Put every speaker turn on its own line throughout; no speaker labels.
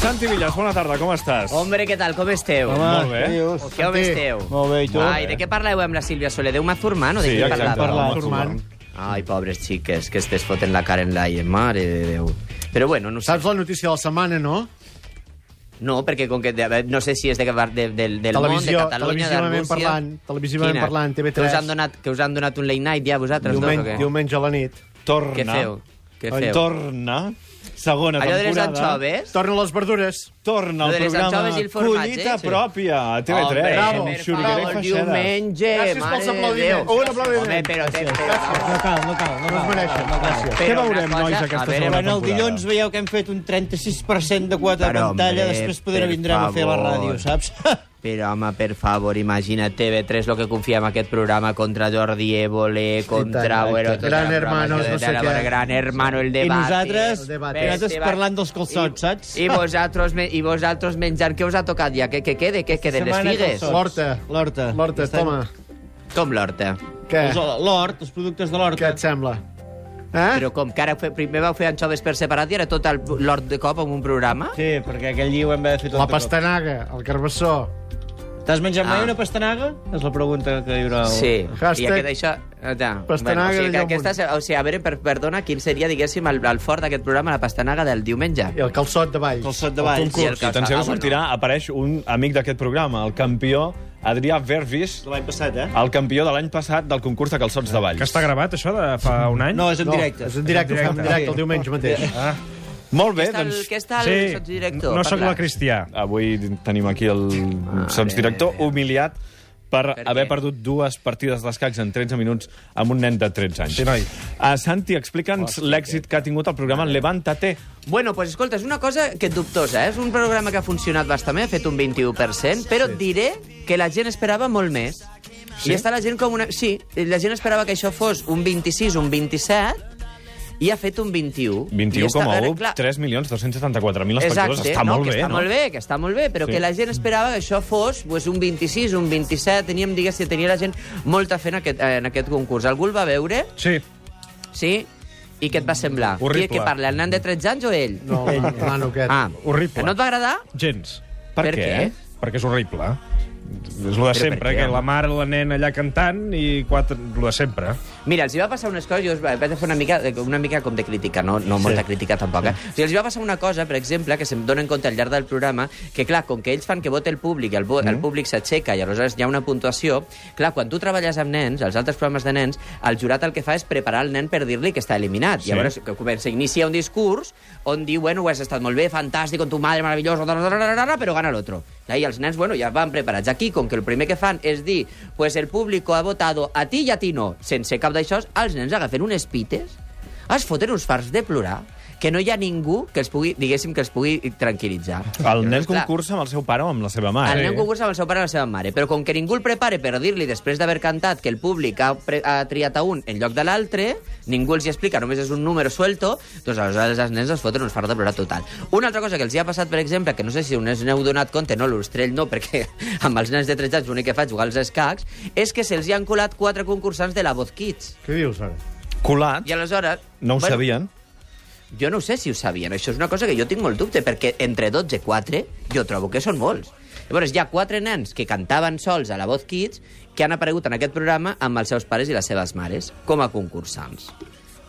Santi Villas, bona tarda, com estàs?
Hombre, què tal? Com esteu?
Molt bé.
Què home esteu?
Molt bé, i tu?
Ai, de què parleu amb la Sílvia Soler? Déu m'ha formant o de
Sí,
què
exacte.
parlàveu?
parlat.
Formant.
Ai, pobres xiques, que estes foten la cara en l'aire, mare de Déu. Però bueno, no sé.
Saps la notícia de la setmana, no?
No, perquè com que de, no sé si és de, de, del, del món, de
Televisió-
Catalunya,
televisivament
d'Arbúcia...
parlant, televisivament
Quina?
parlant, TV3.
Que us han donat, que us han donat un late night ja vosaltres dos, o
Diumenge,
què?
diumenge a la nit.
Torna.
Què feu? Què feu?
Torna. Segona
Allò de les
temporada.
anxoves?
Tornen les verdures.
Torna al
Allò de les
programa
anxoves i el formatge, eh?
Collita
sí.
pròpia, a TV3.
Hombre,
bravo,
per
Xuriguera i
favor,
Feixedes.
diumenge,
Gràcies
mare
pels
de
aplaudiments.
Déu.
Un aplaudiment.
Home, però, té,
No cal, no cal. No,
Es
cal.
Ah,
mereixen. Gràcies.
Què
Però una
veurem,
cosa-
nois,
a
aquesta
veure,
segona
una
Quan el
temporada?
dilluns veieu que hem fet un 36% de quota de
Però,
pantalla,
hombre,
després poder
per
vindrem a fer la
favor.
ràdio, saps?
Però, home, per favor, imagina TV3 lo que confia en aquest programa contra Jordi Évole, contra...
tant,
Bueno,
tant.
tot
Gran
el programa
Hermanos,
que
no sé
de-
què.
Gran hermano, el
I
debat.
nosaltres,
El
i
debat.
nosaltres
Este va-
parlant dels calçots, saps?
I vosaltres, me- i vosaltres menjant, què us ha tocat ja? Què, què quede? Què queden? Les
Setmana
figues?
calçots.
L'horta.
L'horta.
L'horta,
Estem-
toma.
Com l'horta?
Què?
Els- L'hort, els productes de l'horta.
Què et sembla? Eh?
Però com que ara fe- primer vau fer anxoves per separat i ara tot el- l'hort de cop en un programa?
Sí, perquè aquell dia ho hem d'haver fet tot
La
de cop.
pastanaga, el carbassó.
T'has menjat mai
Ah.
una pastanaga? És la pregunta que hi haurà. al-
Sí,
Hashtag
i aquest això... Ja.
pastanaga
o sigui,
de
que
Jaume.
aquesta, se- o sigui, a veure, per, perdona, quin seria, diguéssim, el, el fort d'aquest programa, la pastanaga del diumenge?
I el calçot de valls.
Calçot de Valls.
El concurs.
I el
I tan
Ah,
segur
bueno.
sortirà, apareix un amic d'aquest programa, el campió Adrià Vervis,
De L'any passat, eh?
el campió de l'any passat del concurs de calçots de
Que
Valls.
està gravat, això, de fa un any?
No, és en
No,
directe.
És en directe, ho fem en directe el diumenge mateix.
Ah,
Molt bé,
Què està el,
doncs...
què està el
sí.
sotsdirector?
No sóc
Parla.
la Cristià.
Avui tenim aquí el
Mare
sots director
meva.
humiliat per,
Per
haver
què?
perdut dues partides d'escacs en 13 minuts amb un nen de 13 anys.
Sí, noi.
A Santi, explica'ns l'èxit que ha tingut el programa Levántate.
Bueno, doncs pues, escolta, és una cosa que és dubtosa, eh? És un programa que ha funcionat bastant bé, ha fet un 21%, però sí. diré que la gent esperava molt més. Sí? I està la gent com una... Sí, la gent esperava que això fos un 26, un 27, i ha fet un 21. I està- a veure,
21,1,
clar,
3.274.000 espectadors.
Exacte,
Està
no,
molt
que
bé,
està
no?
molt bé, que està molt bé, però
Sí.
sí. que la gent esperava que això fos pues, un 26, un 27, teníem, diguéssim, tenia la gent molta fe en aquest, eh, en aquest concurs. Algú el va veure?
Sí.
Sí? I què et va semblar?
Horrible.
Qui, qui parla, el nen de 13 anys o ell?
No, el nano aquest.
Ah,
Horrible.
Que no et va agradar?
Gens.
Per,
Per
què?
què?
Perquè és horrible. És lo de sempre,
què,
que
home?
la mare, la nena allà cantant i quatre... Lo de sempre.
Mira, els hi va passar unes coses, jo us vaig fer una mica, una mica com de crítica, no, no molta crítica tampoc. Eh? O sigui, els hi va passar una cosa, per exemple, que se'm donen compte al llarg del programa, que clar, com que ells fan que voti el públic, i el, vo- el públic s'aixeca i aleshores hi ha una puntuació, clar, quan tu treballes amb nens, als altres programes de nens, el jurat el que fa és preparar el nen per dir-li que està eliminat.
Sí.
Sí. Llavors que comença, inicia un discurs on diu, bueno, ho has estat molt bé, fantàstic, amb tu madre, meravelloso, però gana l'altre. I els nens, bueno, ja van preparats. Aquí, com que el primer que fan és dir, pues el públic ha votado a ti i a ti no, sense cap d'això, els nens agafen unes pites, es foten uns farts de plorar, que no hi ha ningú que els pugui, diguéssim, que els pugui tranquil·litzar.
El nen
Llavors, clar,
concursa amb el seu pare o amb la seva mare.
el nen concursa amb el seu pare i la seva mare, però com que ningú el prepare per dir-li després d'haver cantat que el públic ha, pre- ha triat a un en lloc de l'altre, ningú els hi explica, només és un número suelto, doncs aleshores els nens es foten uns farts de plorar total. Una altra cosa que els hi ha passat, per exemple, que no sé si us n'heu donat compte, no, l'Ostrell no, perquè amb els nens de 13 anys l'únic que faig jugar als escacs, és que se'ls hi han colat quatre concursants de la Voz Kids.
Què dius ara?
Colat,
I aleshores...
no ho sabien.
Jo no sé si ho sabien, això és una cosa que jo tinc molt dubte, perquè entre 12 i 4 jo trobo que són molts. Llavors, hi ha quatre nens que cantaven sols a la Voz Kids que han aparegut en aquest programa amb els seus pares i les seves mares, com a concursants.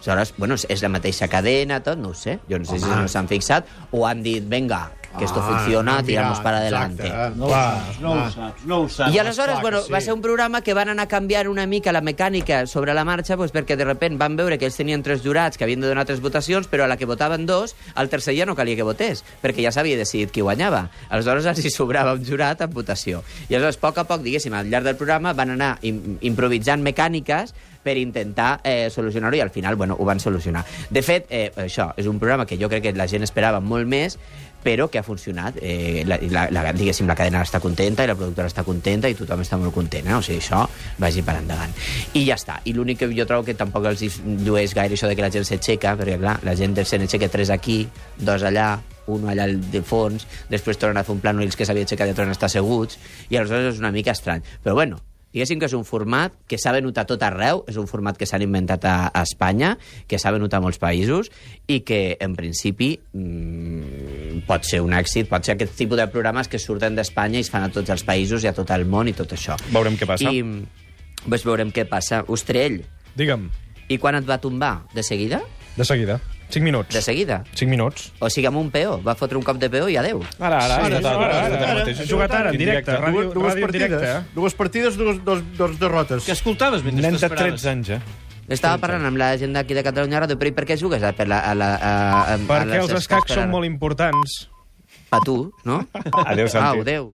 Aleshores, bueno, és la mateixa cadena, tot, no ho sé. Jo no sé si no s'han fixat o han dit, venga, que esto
Ah,
funciona,
mira,
tiramos para adelante.
Exacte.
No ho saps, no ho saps, no ho saps.
I aleshores,
clar que
bueno,
sí.
va ser un programa que van anar canviant una mica la mecànica sobre la marxa, doncs, perquè de repent van veure que ells tenien tres jurats que havien de donar tres votacions, però a la que votaven dos, el tercer ja no calia que votés, perquè ja s'havia decidit qui guanyava. Aleshores els hi sobrava un jurat en votació. I aleshores, a poc a poc, diguéssim, al llarg del programa van anar im improvisant mecàniques per intentar eh, solucionar-ho i al final, bueno, ho van solucionar. De fet, eh, això és un programa que jo crec que la gent esperava molt més, però que ha funcionat. Eh, la, la, la, diguéssim, la cadena està contenta i la productora està contenta i tothom està molt content. Eh? O sigui, això vagi per endavant. I ja està. I l'únic que jo trobo que tampoc els hi llueix gaire això de que la gent s'aixeca, perquè clar, la gent se n'aixeca tres aquí, dos allà, un allà al de fons, després tornen a fer un plano i els que s'havia aixecat ja tornen a estar asseguts, i aleshores és una mica estrany. Però bueno, Diguéssim que és un format que s'ha venut a tot arreu, és un format que s'han inventat a, a Espanya, que s'ha venut a molts països i que, en principi, mm, pot ser un èxit, pot ser aquest tipus de programes que surten d'Espanya i es fan a tots els països i a tot el món i tot això.
Veurem què passa.
I doncs veurem què passa. Ostrell,
Digue'm,
i quan et va tombar? De seguida?
de seguida. 5 minuts.
De seguida.
5 minuts.
O sigui, amb un peó. Va fotre un cop de peó i adeu.
Ara, ara, ara, ara, ara, ara, ara,
He jugat ara, en directe. Ràdio,
dues
ràdio en
partides,
directe. eh?
dues partides, dues, dos, dos derrotes.
Que escoltaves mentre
Nen de
t'esperaves.
13 anys, eh?
Estava parlant amb la gent d'aquí de Catalunya Ràdio, però i per què jugues a, per la, a, la, a, a, a
Perquè
les
els
escacs
escacs
per
són
ara?
molt importants.
Per tu, no?
Adéu, Santi.
Au, adéu.